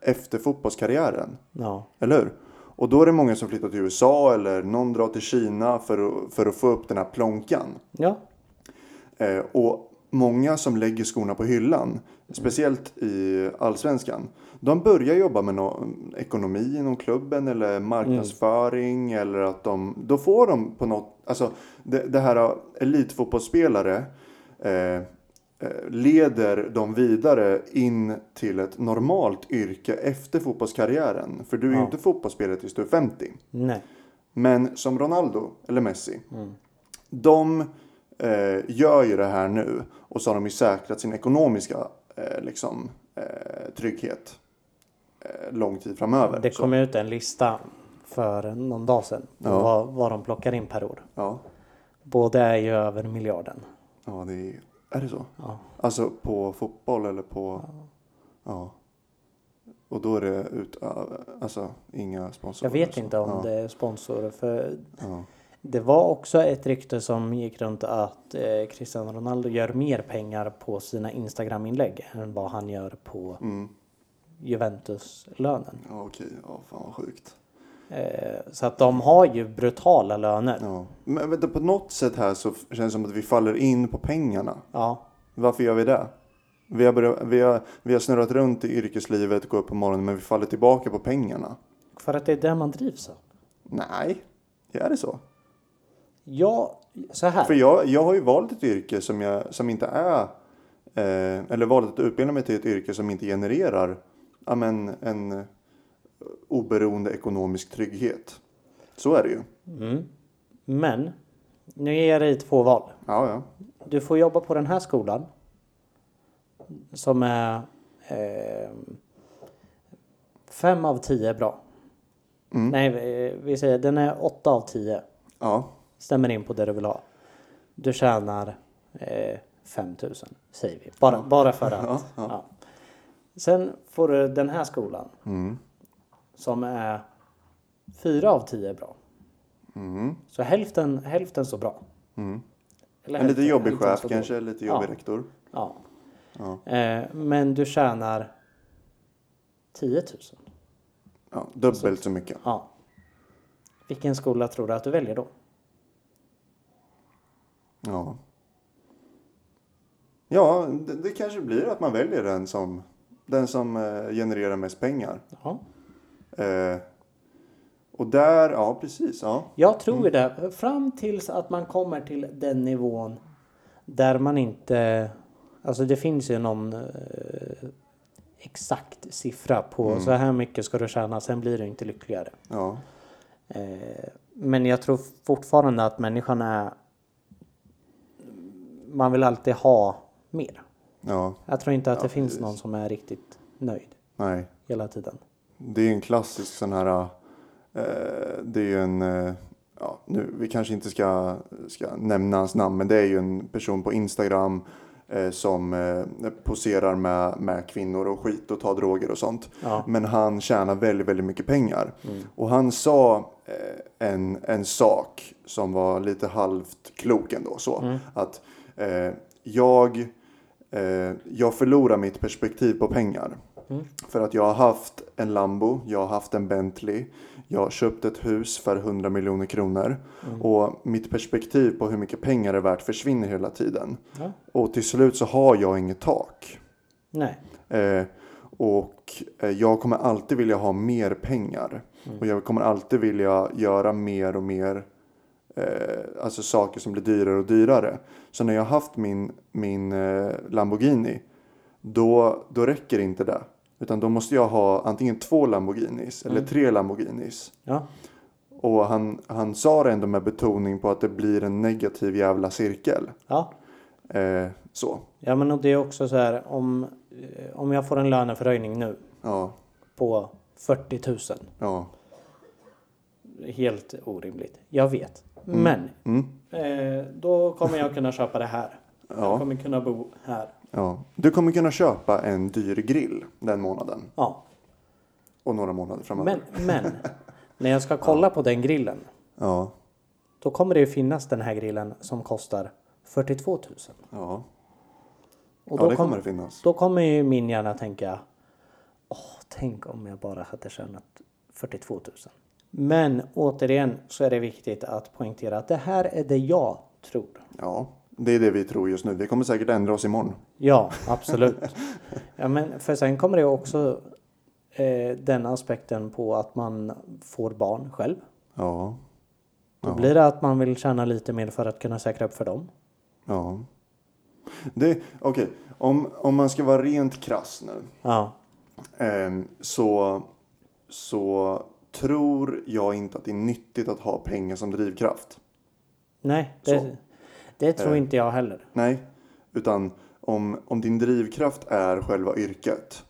Speaker 2: efter fotbollskarriären?
Speaker 1: ja.
Speaker 2: Eller hur? Och då är det många som flyttar till USA eller någon drar till Kina för att, för att få upp den här plånkan.
Speaker 1: Ja.
Speaker 2: Eh, och många som lägger skorna på hyllan, speciellt i allsvenskan, de börjar jobba med no- ekonomi inom klubben eller marknadsföring eller att de, då får de på något, alltså det, det här elitfotbollsspelare eh, eh, leder de vidare in till ett normalt yrke efter fotbollskarriären. För du är ju
Speaker 1: Ja.
Speaker 2: inte fotbollsspelare tills du är 50.
Speaker 1: Nej.
Speaker 2: Men som Ronaldo eller Messi. De eh, gör ju det här nu och så har de ju säkrat sin ekonomiska eh, liksom, eh, trygghet eh, lång tid framöver.
Speaker 1: Det
Speaker 2: så,
Speaker 1: kom ut en lista för någon dag sedan på
Speaker 2: Ja.
Speaker 1: vad, vad de plockar in per år.
Speaker 2: ja.
Speaker 1: Båda är ju över miljarden.
Speaker 2: ja, det är, är det så?
Speaker 1: Ja.
Speaker 2: Alltså på fotboll eller på... Ja. Och då är det ut, alltså, inga
Speaker 1: Jag
Speaker 2: sponsorer.
Speaker 1: vet
Speaker 2: så. alltså.
Speaker 1: inte om
Speaker 2: ja.
Speaker 1: det är sponsorer för
Speaker 2: Ja.
Speaker 1: det var också ett rykte som gick runt att eh, Cristiano Ronaldo gör mer pengar på sina Instagram-inlägg än vad han gör på
Speaker 2: Mm.
Speaker 1: Juventus-lönen.
Speaker 2: Ja, okej. Ja, fan vad sjukt.
Speaker 1: Eh, så att de har ju brutala löner.
Speaker 2: Ja. Men vänta, på något sätt här så f- känns det som att vi faller in på pengarna.
Speaker 1: Ja,
Speaker 2: Varför gör vi det? Vi har, börjat, vi har, vi har snurrat runt i yrkeslivet, går upp på morgonen, men vi faller tillbaka på pengarna.
Speaker 1: för att det är där man drivs av.
Speaker 2: Nej, är det så?
Speaker 1: Ja, så här.
Speaker 2: För jag, jag har ju valt ett yrke som, jag, som inte är... Eh, eller valt att utbilda mig till ett yrke som inte genererar ja, men, en oberoende ekonomisk trygghet. Så är det ju.
Speaker 1: Mm. Men nu ger jag dig två val.
Speaker 2: Ja, ja.
Speaker 1: Du får jobba på den här skolan. Som är eh, fem av tio är bra.
Speaker 2: Mm.
Speaker 1: Nej, vi- vi säger den är åtta av tio.
Speaker 2: ja.
Speaker 1: Stämmer in på det du vill ha. Du tjänar eh, 5000 säger vi. Bara, bara för att.
Speaker 2: Ja, ja.
Speaker 1: Ja. Sen får du den här skolan
Speaker 2: Mm.
Speaker 1: som är fyra av tio är bra.
Speaker 2: Mm.
Speaker 1: Så hälften, hälften så bra.
Speaker 2: Mm.
Speaker 1: Eller
Speaker 2: En lite
Speaker 1: hälften-
Speaker 2: jobbig
Speaker 1: hälften
Speaker 2: chef
Speaker 1: så
Speaker 2: kanske, lite
Speaker 1: Ja.
Speaker 2: jobbig rektor.
Speaker 1: Ja.
Speaker 2: Ja.
Speaker 1: Eh, men du tjänar 10 000.
Speaker 2: Ja, dubbelt så mycket.
Speaker 1: Ja. Vilken skola tror du att du väljer då?
Speaker 2: Ja. Ja, det, det kanske blir att man väljer den som, den som eh, genererar mest pengar.
Speaker 1: Ja.
Speaker 2: Eh, och där, ja precis. Ja.
Speaker 1: Jag tror det. Fram tills att man kommer till den nivån där man inte... Alltså det finns ju någon eh, exakt siffra på så här mycket ska du tjäna, sen blir du inte lyckligare.
Speaker 2: ja.
Speaker 1: Eh, men jag tror fortfarande att människan är... Man vill alltid ha mer.
Speaker 2: Ja,
Speaker 1: Jag tror inte att
Speaker 2: Ja,
Speaker 1: det finns
Speaker 2: precis.
Speaker 1: någon som är riktigt nöjd
Speaker 2: nej.
Speaker 1: hela tiden.
Speaker 2: Det är ju en klassisk sån här... Eh, det är ju en... Eh, ja, nu, vi kanske inte ska, ska nämna hans namn, men det är ju en person på Instagram eh, som eh, poserar med, med kvinnor och skit och tar droger och sånt.
Speaker 1: Ja.
Speaker 2: Men han tjänar väldigt, väldigt mycket pengar. Och han sa eh, en, en sak som var lite halvt klok ändå. Så. Att eh, jag, eh, jag förlorar mitt perspektiv på pengar. För att jag har haft en Lambo, jag har haft en Bentley, jag har köpt ett hus för 100 miljoner kronor.
Speaker 1: Mm.
Speaker 2: Och mitt perspektiv på hur mycket pengar är värt försvinner hela tiden.
Speaker 1: Ja.
Speaker 2: Och till slut så har jag inget tak.
Speaker 1: Nej.
Speaker 2: Eh, och eh, jag kommer alltid vilja ha mer pengar.
Speaker 1: Mm.
Speaker 2: Och jag kommer alltid vilja göra mer och mer. Eh, alltså saker som blir dyrare och dyrare. Så när jag har haft min, min eh, Lamborghini. Då, då räcker inte det. Utan då måste jag ha antingen två Lamborghinis
Speaker 1: Mm.
Speaker 2: eller tre Lamborghinis.
Speaker 1: Ja.
Speaker 2: Och han, han sa det ändå med betoning på att det blir en negativ jävla cirkel.
Speaker 1: Ja.
Speaker 2: Eh, så.
Speaker 1: ja, men och det är också så här om, eh, om jag får en löneförhöjning nu
Speaker 2: Ja.
Speaker 1: på 40 000.
Speaker 2: Ja.
Speaker 1: Helt orimligt. Jag vet. Men
Speaker 2: Mm.
Speaker 1: eh, då kommer jag kunna köpa det här. Jag
Speaker 2: Ja.
Speaker 1: kommer kunna bo här.
Speaker 2: Ja. Du kommer kunna köpa en dyr grill den månaden
Speaker 1: Ja,
Speaker 2: och några månader framöver.
Speaker 1: men, men när jag ska kolla på den grillen
Speaker 2: Ja,
Speaker 1: då kommer det ju finnas den här grillen som kostar 42 000.
Speaker 2: ja.
Speaker 1: Och
Speaker 2: ja
Speaker 1: då kom-
Speaker 2: det kommer det finnas.
Speaker 1: Då kommer ju min hjärna tänka Åh, tänk om jag bara hade tjänat 42 000. Men återigen så är det viktigt att poängtera att det här är det jag tror.
Speaker 2: Ja, det är det vi tror just nu. Vi kommer säkert ändra oss imorgon.
Speaker 1: Ja, absolut. ja, men för sen kommer det också eh, den aspekten på att man får barn själv.
Speaker 2: Ja,
Speaker 1: Då blir det att man vill tjäna lite mer för att kunna säkra upp för dem.
Speaker 2: ja. Det, okej, om, om man ska vara rent krass nu.
Speaker 1: Ja,
Speaker 2: ehm, så, så tror jag inte att det är nyttigt att ha pengar som drivkraft.
Speaker 1: nej,
Speaker 2: Så.
Speaker 1: det, det tror
Speaker 2: Eh.
Speaker 1: inte jag heller.
Speaker 2: Nej, utan om, om din drivkraft är själva yrket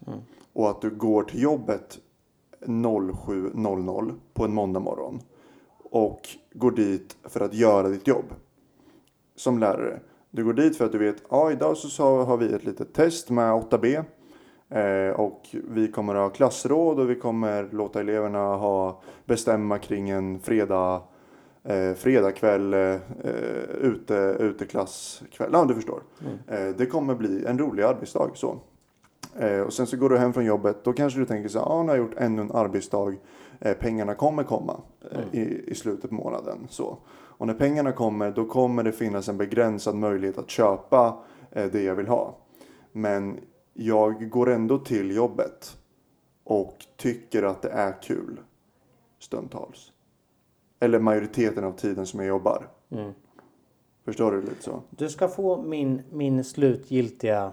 Speaker 2: och att du går till jobbet 07.00 på en måndag morgon och går dit för att göra ditt jobb som lärare. Du går dit för att du vet att ja, idag så sa- har vi ett litet test med 8B eh, och vi kommer att ha klassråd och vi kommer låta eleverna ha, bestämma kring en fredag eh, fredagkväll, eh, ute,
Speaker 1: Mm.
Speaker 2: uteklasskväll. Ja, du förstår. Eh, det kommer bli en rolig arbetsdag. Så. Eh, och sen så går du hem från jobbet. Då kanske du tänker så här, ah, nu har jag gjort ännu en arbetsdag. Eh, pengarna kommer komma eh, i, i slutet på månaden. Så. Och när pengarna kommer, då kommer det finnas en begränsad möjlighet att köpa eh, det jag vill ha. Men jag går ändå till jobbet och tycker att det är kul stundtals. Eller majoriteten av tiden som jag jobbar.
Speaker 1: Mm.
Speaker 2: Förstår du lite så?
Speaker 1: Du ska få min, min slutgiltiga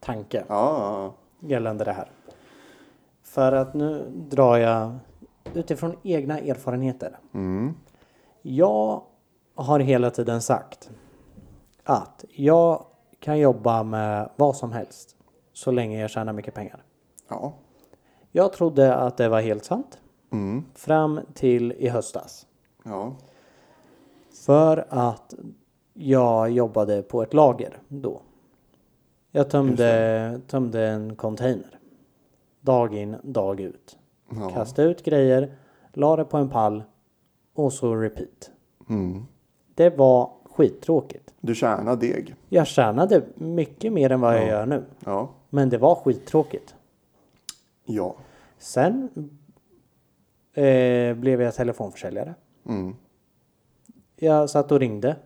Speaker 1: tanke
Speaker 2: Ja, ja, ja.
Speaker 1: gällande det här. För att nu drar jag utifrån egna erfarenheter.
Speaker 2: Mm.
Speaker 1: Jag har hela tiden sagt att jag kan jobba med vad som helst så länge jag tjänar mycket pengar.
Speaker 2: ja.
Speaker 1: Jag trodde att det var helt sant
Speaker 2: Mm.
Speaker 1: fram till i höstas.
Speaker 2: ja.
Speaker 1: För att jag jobbade på ett lager då. Jag tömde, tömde en container. Dag in, dag ut.
Speaker 2: ja.
Speaker 1: Kastade ut grejer, la det på en pall och så repeat.
Speaker 2: Mm.
Speaker 1: Det var skittråkigt.
Speaker 2: Du tjänar deg.
Speaker 1: Jag tjänade mycket mer än vad jag gör nu.
Speaker 2: Ja.
Speaker 1: Men det var skittråkigt.
Speaker 2: Ja.
Speaker 1: Sen eh, blev jag telefonförsäljare.
Speaker 2: Mm.
Speaker 1: Jag satt och ringde.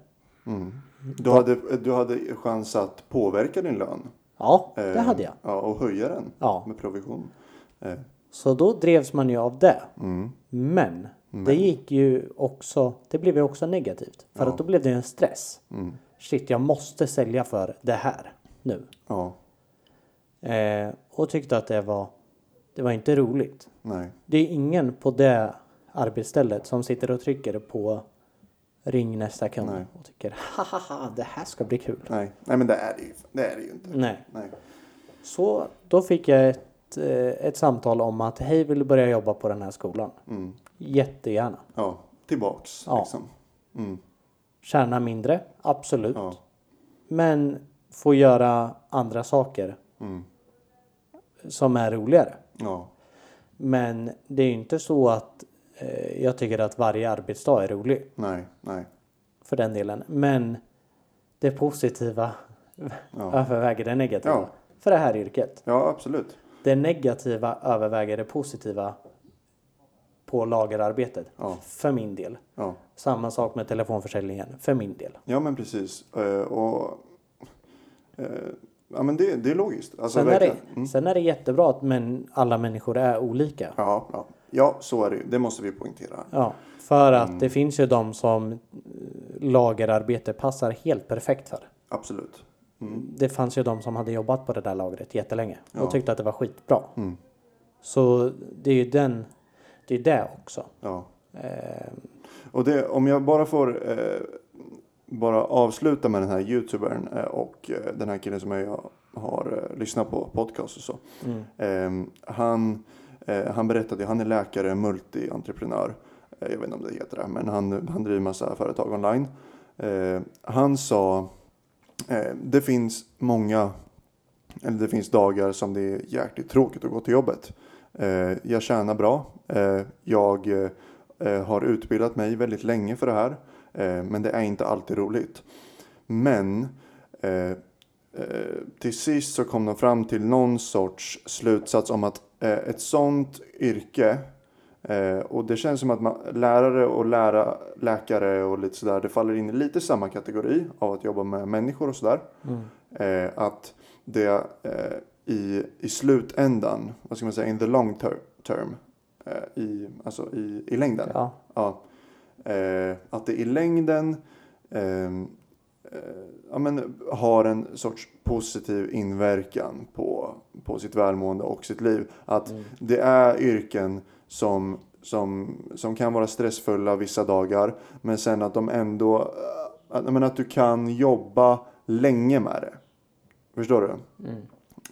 Speaker 2: Mm. Du, hade, du hade chans att påverka din lön.
Speaker 1: Ja, det
Speaker 2: Eh,
Speaker 1: hade jag.
Speaker 2: Ja, och höja den
Speaker 1: Ja.
Speaker 2: med provision. Eh,
Speaker 1: Så då drevs man ju av det.
Speaker 2: Mm.
Speaker 1: Men, det gick ju också, det blev ju också negativt. För att då blev det ju en stress.
Speaker 2: Mm.
Speaker 1: Shit, jag måste sälja för det här nu.
Speaker 2: Ja,
Speaker 1: Eh, och tyckte att det var, det var inte roligt.
Speaker 2: nej.
Speaker 1: Det är ingen på det arbetsstället som sitter och trycker på ring nästa kund
Speaker 2: Nej.
Speaker 1: och tycker haha det här ska bli kul.
Speaker 2: Nej, nej men det är det ju, det är det ju inte.
Speaker 1: Nej.
Speaker 2: Nej.
Speaker 1: Så då fick jag ett, eh, ett samtal om att hej vill du börja jobba på den här skolan?
Speaker 2: Mm.
Speaker 1: Jättegärna.
Speaker 2: Ja, tillbaks
Speaker 1: Ja.
Speaker 2: liksom. Mm.
Speaker 1: Tjäna mindre, absolut.
Speaker 2: Ja.
Speaker 1: Men få göra andra saker
Speaker 2: Mm.
Speaker 1: som är roligare.
Speaker 2: ja,
Speaker 1: Men det är ju inte så att eh, jag tycker att varje arbetsdag är rolig
Speaker 2: nej, nej.
Speaker 1: för den delen. Men det positiva
Speaker 2: Ja,
Speaker 1: överväger det negativa
Speaker 2: Ja.
Speaker 1: för det här yrket.
Speaker 2: ja absolut.
Speaker 1: Det negativa överväger det positiva på lagerarbetet
Speaker 2: Ja.
Speaker 1: för min del.
Speaker 2: Ja.
Speaker 1: Samma sak med telefonförsäljningen för min del.
Speaker 2: ja, men precis. Eh, och, eh, ja, men det, det är logiskt. Alltså,
Speaker 1: Sen är, det,
Speaker 2: verkligen. Mm.
Speaker 1: sen är det jättebra att men alla människor är olika.
Speaker 2: Ja, ja. ja, så är det ju. Det måste vi poängtera. här.
Speaker 1: Ja, för att det finns ju de som eh, lagerarbete passar helt perfekt för.
Speaker 2: Absolut. Mm.
Speaker 1: Det fanns ju de som hade jobbat på det där lagret jättelänge och
Speaker 2: Ja.
Speaker 1: tyckte att det var skitbra.
Speaker 2: Mm.
Speaker 1: Så det är ju den, det är det också.
Speaker 2: Ja.
Speaker 1: Eh,
Speaker 2: Och det, om jag bara får eh, bara avsluta med den här youtubern eh, och eh, den här killen som jag har eh, lyssnat på podcast och så.
Speaker 1: mm,
Speaker 2: Eh, han, eh, han berättade, han är läkare, multientreprenör. Eh, jag vet inte om det heter det, men han, han driver massa företag online. Eh, han sa, eh, det finns många, eller det finns dagar som det är jäkligt tråkigt att gå till jobbet. Eh, jag tjänar bra. Eh, jag eh, eh, har utbildat mig väldigt länge för det här. Eh, men det är inte alltid roligt. Men eh, eh, till sist så kom de fram till någon sorts slutsats om att eh, ett sånt yrke eh, och det känns som att man, lärare och lära, läkare och lite sådär det faller in i lite samma kategori av att jobba med människor och sådär.
Speaker 1: mm,
Speaker 2: Eh, att det eh, i, i slutändan, vad ska man säga, in the long ter- term, eh, i, alltså i, i längden.
Speaker 1: ja.
Speaker 2: Ja. Eh, att det i längden ehm, eh, ja, men, har en sorts positiv inverkan på, på sitt välmående och sitt liv. Att
Speaker 1: Mm,
Speaker 2: det är yrken som, som, som kan vara stressfulla vissa dagar men sen att de ändå, eh, att, men, att du kan jobba länge med det. Förstår du?
Speaker 1: Mm.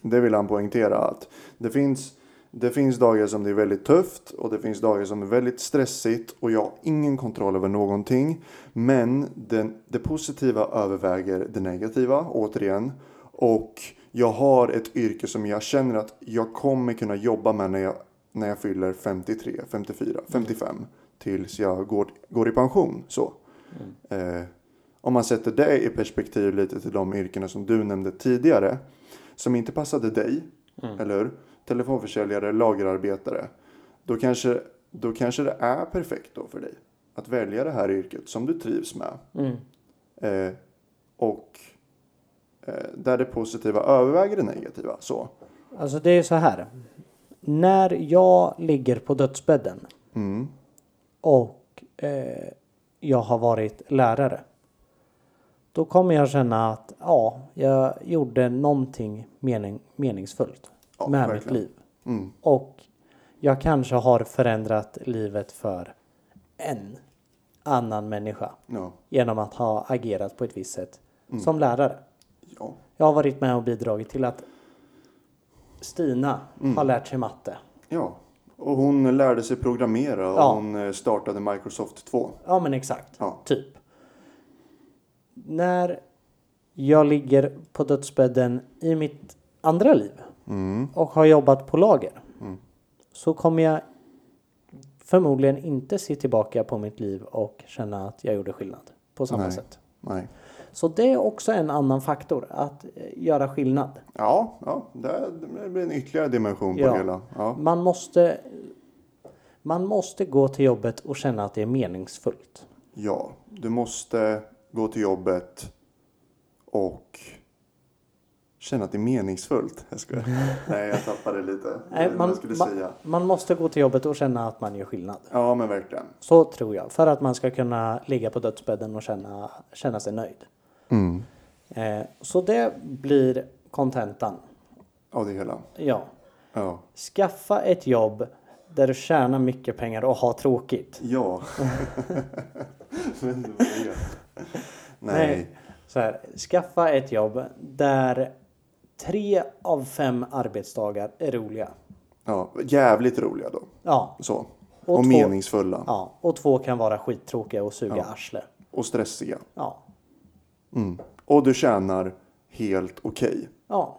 Speaker 2: Det vill han poängtera att det finns, det finns dagar som det är väldigt tufft och det finns dagar som är väldigt stressigt och jag har ingen kontroll över någonting. Men den, det positiva överväger det negativa återigen. Och jag har ett yrke som jag känner att jag kommer kunna jobba med när jag, när jag fyller 53, 54, 55. Tills jag går, går i pension. Så.
Speaker 1: mm,
Speaker 2: Eh, om man sätter det i perspektiv lite till de yrkena som du nämnde tidigare som inte passade dig
Speaker 1: mm,
Speaker 2: eller hur? Telefonförsäljare, lagerarbetare. Då kanske, då kanske det är perfekt då för dig att välja det här yrket som du trivs med.
Speaker 1: Mm.
Speaker 2: Eh, och eh, där det positiva överväger det negativa. Så.
Speaker 1: Alltså det är så här. När jag ligger på dödsbädden
Speaker 2: Mm.
Speaker 1: och eh, jag har varit lärare. Då kommer jag känna att ja, jag gjorde någonting mening, meningsfullt
Speaker 2: Ja,
Speaker 1: med mitt
Speaker 2: verkligen.
Speaker 1: liv.
Speaker 2: Mm.
Speaker 1: Och jag kanske har förändrat livet för en annan människa
Speaker 2: Ja.
Speaker 1: genom att ha agerat på ett visst sätt
Speaker 2: Mm.
Speaker 1: som lärare.
Speaker 2: ja.
Speaker 1: Jag har varit med och bidragit till att Stina
Speaker 2: Mm.
Speaker 1: har lärt sig matte.
Speaker 2: Ja. Och hon lärde sig programmera och
Speaker 1: Ja.
Speaker 2: hon eh, startade Microsoft 2.
Speaker 1: Ja men exakt.
Speaker 2: Ja.
Speaker 1: Typ. När jag ligger på dödsbädden i mitt andra liv
Speaker 2: Mm.
Speaker 1: och har jobbat på lager.
Speaker 2: Mm.
Speaker 1: Så kommer jag förmodligen inte se tillbaka på mitt liv och känna att jag gjorde skillnad på samma
Speaker 2: Nej.
Speaker 1: sätt.
Speaker 2: Nej.
Speaker 1: Så det är också en annan faktor att eh, göra skillnad.
Speaker 2: Ja, ja. Det det blir en ytterligare dimension på
Speaker 1: Ja.
Speaker 2: det hela. Ja.
Speaker 1: Man måste, man måste gå till jobbet och känna att det är meningsfullt.
Speaker 2: ja. Du måste gå till jobbet och känna att det är meningsfullt. Jag skojar. Nej, jag tappade lite.
Speaker 1: Nej,
Speaker 2: vad
Speaker 1: man-
Speaker 2: jag skulle
Speaker 1: man-
Speaker 2: säga.
Speaker 1: Man måste gå till jobbet och känna att man gör skillnad.
Speaker 2: Ja, men verkligen.
Speaker 1: Så tror jag. För att man ska kunna ligga på dödsbädden och känna, känna sig nöjd. Eh, så det blir kontentan.
Speaker 2: Ja, det hela.
Speaker 1: Ja.
Speaker 2: Ja.
Speaker 1: Skaffa ett jobb där du tjänar mycket pengar och har tråkigt.
Speaker 2: Ja. Men det var det. Nej.
Speaker 1: Nej. Så här, skaffa ett jobb där tre av fem arbetsdagar är roliga.
Speaker 2: Ja, jävligt roliga då.
Speaker 1: Ja.
Speaker 2: Så.
Speaker 1: Och
Speaker 2: Och,
Speaker 1: två-
Speaker 2: meningsfulla.
Speaker 1: ja. Och två kan vara skittråkiga och suga arsle.
Speaker 2: Och stressiga.
Speaker 1: Ja.
Speaker 2: Mm. Och du tjänar helt okej.
Speaker 1: Ja.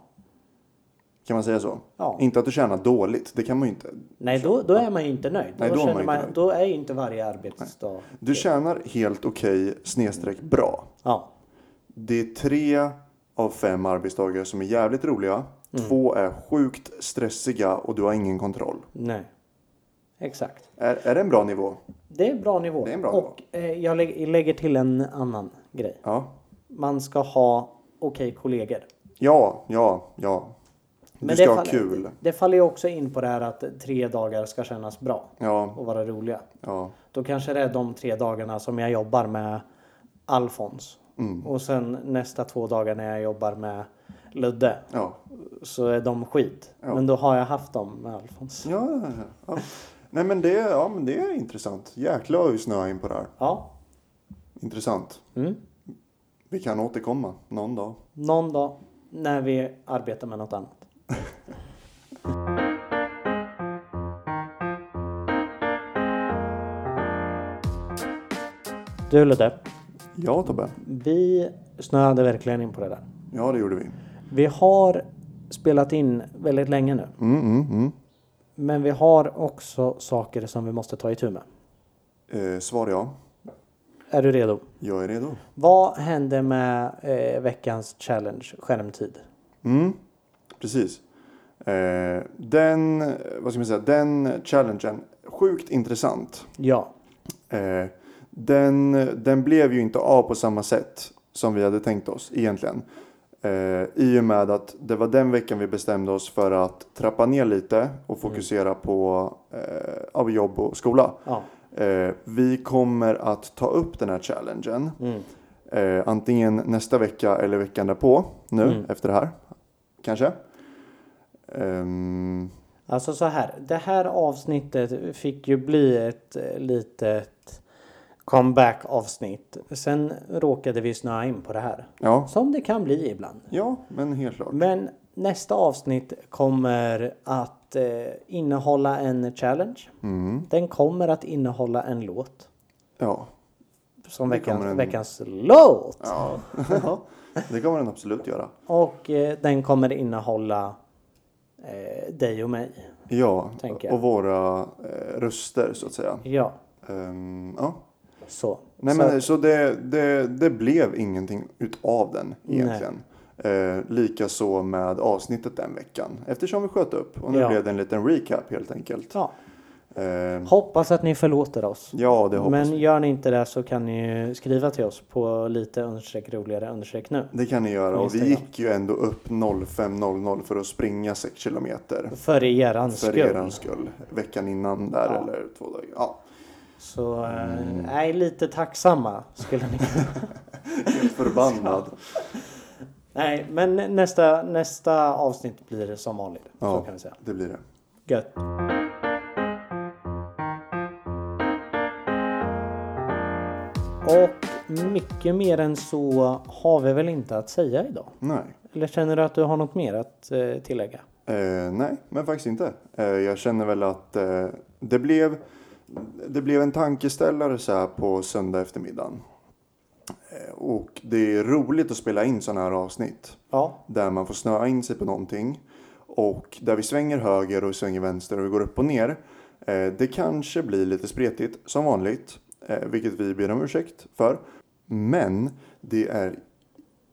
Speaker 2: Kan man säga så?
Speaker 1: Ja.
Speaker 2: Inte att du tjänar dåligt. Det kan man ju inte.
Speaker 1: Nej, då, då är man ju inte nöjd.
Speaker 2: Nej,
Speaker 1: då,
Speaker 2: då är man
Speaker 1: känner
Speaker 2: inte
Speaker 1: man,
Speaker 2: nöjd.
Speaker 1: då är ju inte varje arbetsdag...
Speaker 2: Du tjänar helt okej snedstreck bra.
Speaker 1: Ja.
Speaker 2: Det är tre av fem arbetsdagar som är jävligt roliga.
Speaker 1: Mm.
Speaker 2: Två är sjukt stressiga och du har ingen kontroll.
Speaker 1: Nej. Exakt.
Speaker 2: Är, är det en bra nivå?
Speaker 1: Det är en bra nivå.
Speaker 2: Det är en bra
Speaker 1: och eh, jag lä- lägger till en annan grej.
Speaker 2: Ja.
Speaker 1: Man ska ha okej kollegor.
Speaker 2: Ja, ja, ja. du ska
Speaker 1: det
Speaker 2: ha
Speaker 1: faller-
Speaker 2: kul.
Speaker 1: Det, det faller ju också in på det här att tre dagar ska kännas bra
Speaker 2: Ja,
Speaker 1: och vara roliga.
Speaker 2: ja.
Speaker 1: Då kanske det är de tre dagarna som jag jobbar med Alfons.
Speaker 2: Mm.
Speaker 1: Och sen nästa två dagar när jag jobbar med Ludde
Speaker 2: Ja,
Speaker 1: så är de skit.
Speaker 2: Ja.
Speaker 1: Men då har jag haft dem med Alfons.
Speaker 2: ja, ja, ja. Nej, men det, ja, men det är intressant. Jäklar vad vi snöar in på det här.
Speaker 1: Ja.
Speaker 2: Intressant.
Speaker 1: Mm.
Speaker 2: Vi kan återkomma någon dag.
Speaker 1: Någon dag när vi arbetar med något annat. Du Ludde,
Speaker 2: Ja, Tobbe.
Speaker 1: vi snöade verkligen in på det där.
Speaker 2: Ja, det gjorde vi.
Speaker 1: Vi har spelat in väldigt länge nu.
Speaker 2: Mm, mm, mm.
Speaker 1: Men vi har också saker som vi måste ta itu med.
Speaker 2: Eh, svar ja.
Speaker 1: Är du redo?
Speaker 2: Jag är redo.
Speaker 1: Vad hände med eh, veckans challenge, skärmtid?
Speaker 2: Mm, precis. Eh, den, eh, vad ska man säga, den challengen, sjukt intressant.
Speaker 1: Ja.
Speaker 2: Eh, den, den blev ju inte av på samma sätt som vi hade tänkt oss egentligen. Eh, I och med att det var den veckan vi bestämde oss för att trappa ner lite och fokusera på eh, av jobb och skola.
Speaker 1: ja.
Speaker 2: Eh, vi kommer att ta upp den här challengen.
Speaker 1: Mm.
Speaker 2: Eh, antingen nästa vecka eller veckan därpå. Nu
Speaker 1: Mm.
Speaker 2: efter det här. Kanske. Ehm,
Speaker 1: Alltså så här, det här avsnittet fick ju bli ett eh, litet comeback avsnitt. Sen råkade vi snöa in på det här.
Speaker 2: ja.
Speaker 1: Som det kan bli ibland.
Speaker 2: ja, men helt klart.
Speaker 1: Men nästa avsnitt kommer att eh, innehålla en challenge.
Speaker 2: Mm.
Speaker 1: Den kommer att innehålla en låt.
Speaker 2: Ja.
Speaker 1: Som
Speaker 2: Det
Speaker 1: veckans,
Speaker 2: kommer en-
Speaker 1: veckans låt!
Speaker 2: Ja. det kommer den absolut göra.
Speaker 1: Och eh, den kommer innehålla eh, dig och mig.
Speaker 2: Ja,
Speaker 1: Tänker jag.
Speaker 2: och våra eh, röster så att säga.
Speaker 1: Ja,
Speaker 2: Ehm, ja.
Speaker 1: så.
Speaker 2: Nej,
Speaker 1: så
Speaker 2: men, så det, det, det blev ingenting utav den egentligen. Eh, Likaså med avsnittet den veckan eftersom vi sköt upp och nu
Speaker 1: Ja.
Speaker 2: blev det en liten recap helt enkelt.
Speaker 1: Ja.
Speaker 2: Eh,
Speaker 1: Hoppas att ni förlåter oss.
Speaker 2: ja, det hoppas
Speaker 1: Men
Speaker 2: vi.
Speaker 1: gör ni inte det så kan ni ju skriva till oss på lite understreck roligare understreck nu.
Speaker 2: Det kan ni göra
Speaker 1: På
Speaker 2: och vi
Speaker 1: Instagram.
Speaker 2: gick ju ändå upp 05.00 för att springa 6 kilometer
Speaker 1: För eran skull.
Speaker 2: för er skull. Veckan innan där
Speaker 1: Ja.
Speaker 2: eller två dagar. Ja,
Speaker 1: Så eh,
Speaker 2: Mm.
Speaker 1: nej, lite tacksamma skulle ni
Speaker 2: helt förbannad.
Speaker 1: Nej, men nästa, nästa avsnitt blir som vanligt. Så
Speaker 2: Ja.
Speaker 1: kan vi säga.
Speaker 2: Det blir det.
Speaker 1: Gött. Och mycket mer än så har vi väl inte att säga idag?
Speaker 2: Nej.
Speaker 1: Eller känner du att du har något mer att eh, tillägga?
Speaker 2: Eh, nej, men faktiskt inte. Eh, jag känner väl att eh, det, blev, det blev en tankeställare så här på söndag eftermiddagen. Eh, och det är roligt att spela in sådana här avsnitt
Speaker 1: Ja,
Speaker 2: där man får snöa in sig på någonting och där vi svänger höger och svänger vänster och vi går upp och ner. Eh, det kanske blir lite spretigt som vanligt, eh, vilket vi ber om ursäkt för. Men det är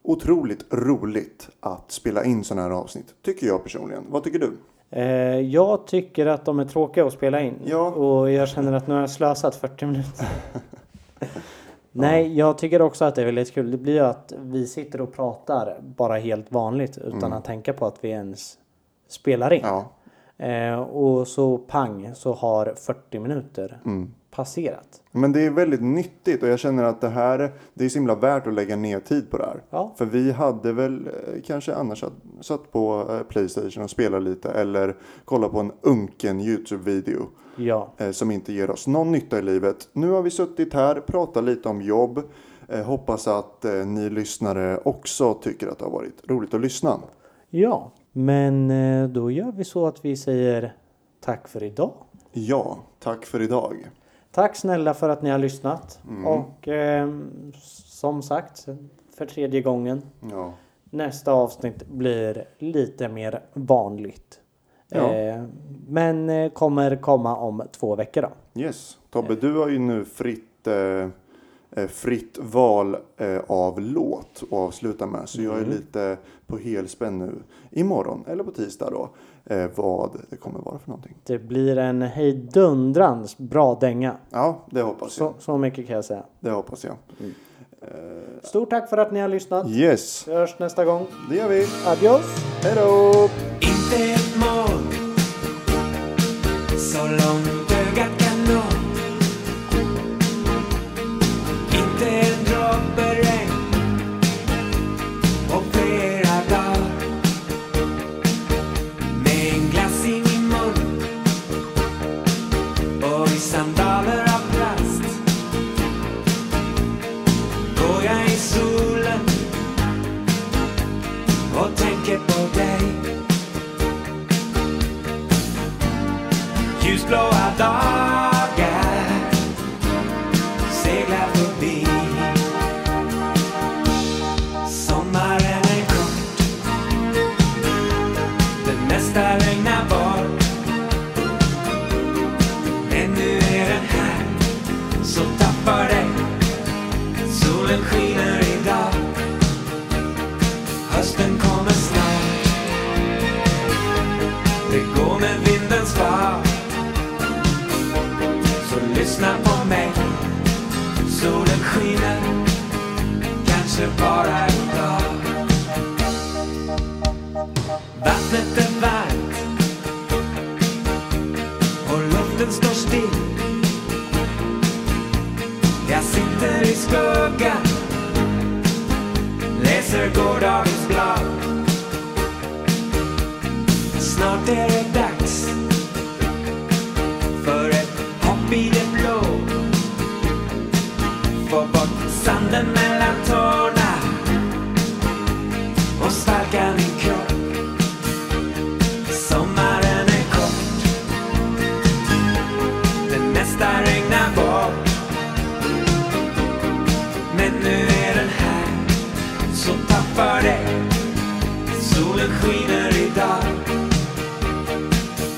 Speaker 2: otroligt roligt att spela in sådana här avsnitt, tycker jag personligen. Vad tycker du?
Speaker 1: eh, jag tycker att de är tråkiga att spela in.
Speaker 2: Ja.
Speaker 1: Och jag känner att nu har jag slösat 40 minuter. Nej, jag tycker också att det är väldigt kul. Det blir ju att vi sitter och pratar bara helt vanligt utan
Speaker 2: Mm.
Speaker 1: att tänka på att vi ens spelar in.
Speaker 2: Ja,
Speaker 1: Eh, och så pang så har 40 minuter
Speaker 2: Mm.
Speaker 1: passerat.
Speaker 2: men det är väldigt nyttigt och jag känner att det här, det är så himla värt att lägga ner tid på det här.
Speaker 1: Ja,
Speaker 2: För vi hade väl eh, kanske annars satt- satt på eh, Playstation och spelat lite eller kollat på en unken Youtube-video
Speaker 1: ja,
Speaker 2: eh, som inte ger oss någon nytta i livet. Nu har vi suttit här, pratat lite om jobb. Eh, Hoppas att eh, ni lyssnare också tycker att det har varit roligt att lyssna.
Speaker 1: ja. Men eh, då gör vi så att vi säger tack för idag.
Speaker 2: Ja, tack för idag.
Speaker 1: Tack snälla för att ni har lyssnat. Och ehm, som sagt, för tredje gången.
Speaker 2: Ja,
Speaker 1: Nästa avsnitt blir lite mer vanligt.
Speaker 2: Ja.
Speaker 1: Eh, men eh, kommer komma om två veckor då.
Speaker 2: yes. Tobbe, du har ju nu fritt, eh, eh, fritt val eh, av låt att avsluta med. Så jag är lite på helspänn nu. Imorgon, eller på tisdag då, eh, vad det kommer vara för någonting.
Speaker 1: Det blir en hejdundrans bra dänga.
Speaker 2: Ja, det hoppas jag.
Speaker 1: Så, så mycket kan jag säga.
Speaker 2: Det hoppas jag.
Speaker 1: Stort tack för att ni har lyssnat.
Speaker 2: Yes,
Speaker 1: Vi hörs nästa gång.
Speaker 2: det gör vi.
Speaker 1: Adios!
Speaker 2: Hej då!
Speaker 3: Inte ett mål Så långt ögat kan nå Inte en droppe regn På flera dagar Med en glass i min mun Och i sandaler av plast Går jag i solen och tänker på dig Ljusblåa dagar seglar förbi Sommaren är kort Det mesta regnar bort Men nu är den här Så tappar det Solen skiner idag Hösten kommer snart Det går med vindens fart så lyssna på mig Solen skiner Kanske bara idag Vattnet är varmt Och luften står still Jag sitter i skuggan Läser gårdagens blad Snart är det dags för ett hopp i det blå Få bort sanden mellan tårna och sparka min kropp Sommaren är kort Det mesta regnar bort Men nu är den här så tappar det Solen skiner idag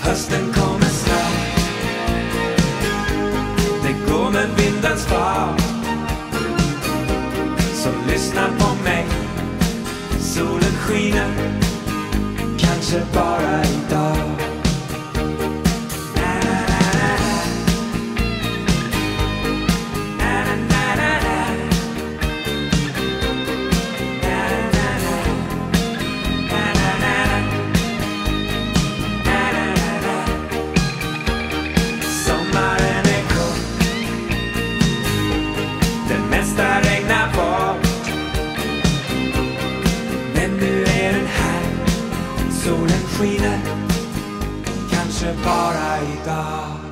Speaker 3: Hösten kommer snart det går med vindens fart Så lyssna på mig Solen skiner Kanske bara idag Na, na, na, na, na. Na, na, na, na, na. Na, na, na, na. Na, na, na, na. Na, na, na, na. Sommaren är kort det mesta regnar bort Men nu är den här Solen skiner Kanske bara idag